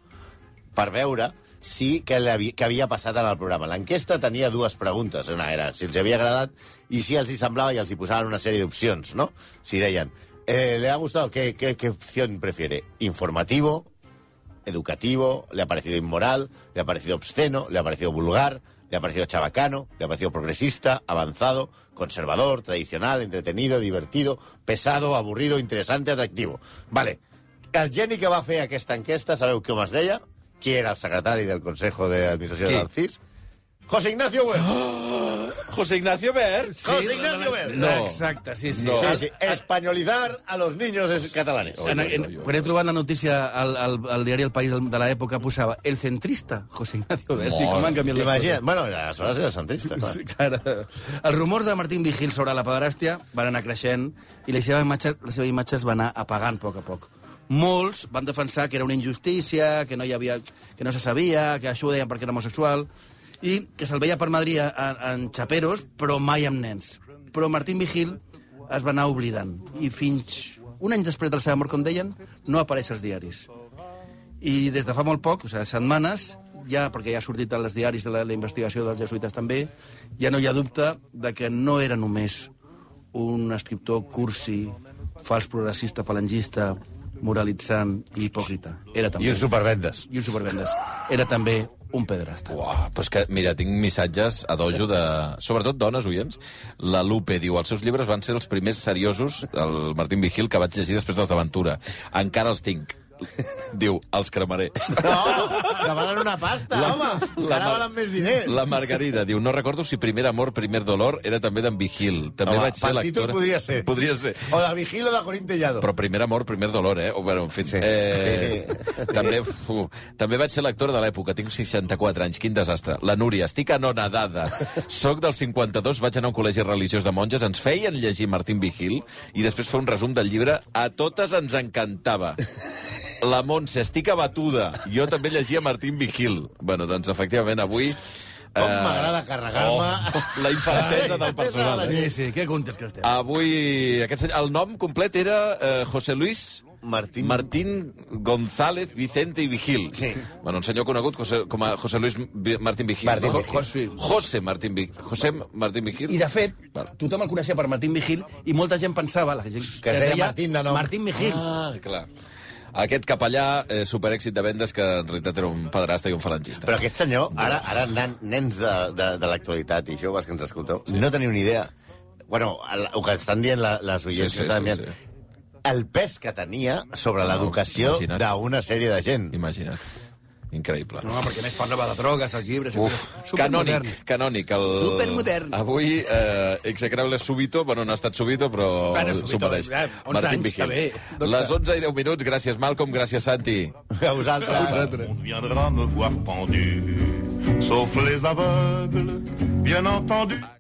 [SPEAKER 5] per veure si que, l'havi- que havia passat en el programa. L'enquesta tenia dues preguntes. Una era si els havia agradat i si els hi semblava i els hi posaven una sèrie d'opcions, no? Si deien, eh, ¿le ha gustado? ¿Qué, qué, ¿Qué opción prefiere? ¿Informativo? ¿Educativo? ¿Le ha parecido inmoral? ¿Le ha parecido obsceno? ¿Le ha parecido vulgar? ¿Le ha parecido chabacano? ¿Le ha parecido progresista? ¿Avanzado? ¿Conservador? ¿Tradicional? ¿Entretenido? ¿Divertido? ¿Pesado? ¿Aburrido? ¿Interesante? ¿Atractivo? Vale. El geni que va fer aquesta enquesta, sabeu què es deia? Qui era el secretari del Consejo d'Administració
[SPEAKER 4] Qui? Ah,
[SPEAKER 5] de del CIS? José Ignacio Wert.
[SPEAKER 4] José Ignacio Bert.
[SPEAKER 5] José Ignacio Wert.
[SPEAKER 4] No.
[SPEAKER 6] Exacte, sí, sí.
[SPEAKER 4] No.
[SPEAKER 5] Sí, sí. Españolizar a los niños es- catalanes.
[SPEAKER 6] En- en- quan he trobat la notícia al, al, al diari El País del- de l'època posava el centrista José Ignacio Bert. Dic, com han canviat les
[SPEAKER 5] Imagina't. Bueno, aleshores era centrista, clar.
[SPEAKER 6] Sí, Clar. Els rumors de Martín Vigil sobre la pederàstia van anar creixent i la seva, imatge, la seva imatge es va anar apagant a poc a poc. Molts van defensar que era una injustícia, que no, hi havia, que no se sabia, que això ho deien perquè era homosexual, i que se'l veia per Madrid en, en xaperos, però mai amb nens. Però Martín Vigil es va anar oblidant, i fins un any després de la seva mort, com deien, no apareix als diaris. I des de fa molt poc, o sigui, setmanes, ja, perquè ja ha sortit als diaris de la, la investigació dels jesuïtes també, ja no hi ha dubte de que no era només un escriptor cursi, fals progressista, falangista, moralitzant i hipòcrita. Era també...
[SPEAKER 5] I uns supervendes.
[SPEAKER 6] i un supervendes. Era també un pederasta.
[SPEAKER 4] Uah, però és que, mira, tinc missatges a dojo de... Sobretot dones, oients. La Lupe diu, els seus llibres van ser els primers seriosos, el Martín Vigil, que vaig llegir després dels d'Aventura. Encara els tinc. Diu, els cremaré.
[SPEAKER 5] No, que valen una pasta, la, home. La, Ara
[SPEAKER 4] Mar-
[SPEAKER 5] valen més diners.
[SPEAKER 4] La Margarida diu, no recordo si Primer amor, primer dolor era també d'en Vigil. També
[SPEAKER 5] Home,
[SPEAKER 4] vaig ser
[SPEAKER 5] pel títol
[SPEAKER 4] lectora...
[SPEAKER 5] podria ser.
[SPEAKER 4] Podria ser.
[SPEAKER 5] O de Vigil o de Corín Tellado.
[SPEAKER 4] Però primer amor, primer dolor, eh? O, bueno, en fi,
[SPEAKER 5] Sí.
[SPEAKER 4] eh,
[SPEAKER 5] Sí.
[SPEAKER 4] També, fu, també vaig ser lectora de l'època, tinc 64 anys, quin desastre. La Núria, estic anonadada. Soc del 52, vaig anar a un col·legi religiós de monges, ens feien llegir Martín Vigil i després fer un resum del llibre. A totes ens encantava. La Montse, estic abatuda. Jo també llegia Martín Vigil. Bueno, doncs, efectivament, avui... eh, oh,
[SPEAKER 5] Com m'agrada carregar-me.
[SPEAKER 4] la infantesa
[SPEAKER 5] La
[SPEAKER 4] del
[SPEAKER 5] infantesa
[SPEAKER 4] personal.
[SPEAKER 5] de la
[SPEAKER 4] eh?
[SPEAKER 5] gent.
[SPEAKER 6] Sí, sí, què contes que estem?
[SPEAKER 4] Avui, aquest, senyor- el nom complet era eh, José Luis
[SPEAKER 5] Martín-
[SPEAKER 4] Martín González Vicente i Vigil.
[SPEAKER 5] Sí.
[SPEAKER 4] Bueno, un senyor conegut José, com a José Luis Vi- Martín Vigil.
[SPEAKER 5] Martín
[SPEAKER 4] Jo-
[SPEAKER 5] Vigil.
[SPEAKER 4] José, José Martín Vigil. José Martín Vigil.
[SPEAKER 6] I, de fet,
[SPEAKER 4] Val.
[SPEAKER 6] tothom el coneixia per Martín Vigil i molta gent pensava... La gent
[SPEAKER 5] Que es deia Martín de nom.
[SPEAKER 6] Martín Vigil.
[SPEAKER 4] Ah, clar. Aquest capellà, eh, superèxit de vendes, que en realitat era un pederasta i un falangista.
[SPEAKER 5] Però aquest senyor, ara, ara nan, nens de, de, de l'actualitat i joves que ens escolteu, sí. no teniu ni idea. Bueno, el, el que estan dient la, les oients
[SPEAKER 4] Sí, sí,
[SPEAKER 5] sí, sí,
[SPEAKER 4] sí,
[SPEAKER 5] estan dient, sí. el pes que tenia sobre l'educació
[SPEAKER 4] imagina't.
[SPEAKER 5] d'una sèrie de gent.
[SPEAKER 4] Imagina't. Increïble.
[SPEAKER 5] No, perquè a més parlava de drogues, els llibres...
[SPEAKER 4] Uf,
[SPEAKER 5] etc. Supermodern.
[SPEAKER 4] canònic, canònic. El...
[SPEAKER 5] Supermodern.
[SPEAKER 4] Avui, eh, execrable Subito, bueno, no ha estat Subito, però
[SPEAKER 5] Bueno,
[SPEAKER 4] s'ho
[SPEAKER 5] Subito,
[SPEAKER 4] mereix.
[SPEAKER 5] eh, 11 anys, està bé. Doncs
[SPEAKER 4] Les
[SPEAKER 5] està.
[SPEAKER 4] 11 i 10 minuts, gràcies Malcolm, gràcies Santi.
[SPEAKER 7] A vosaltres.
[SPEAKER 3] On viendra me voir pendu, sauf les aveugles, bien entendu.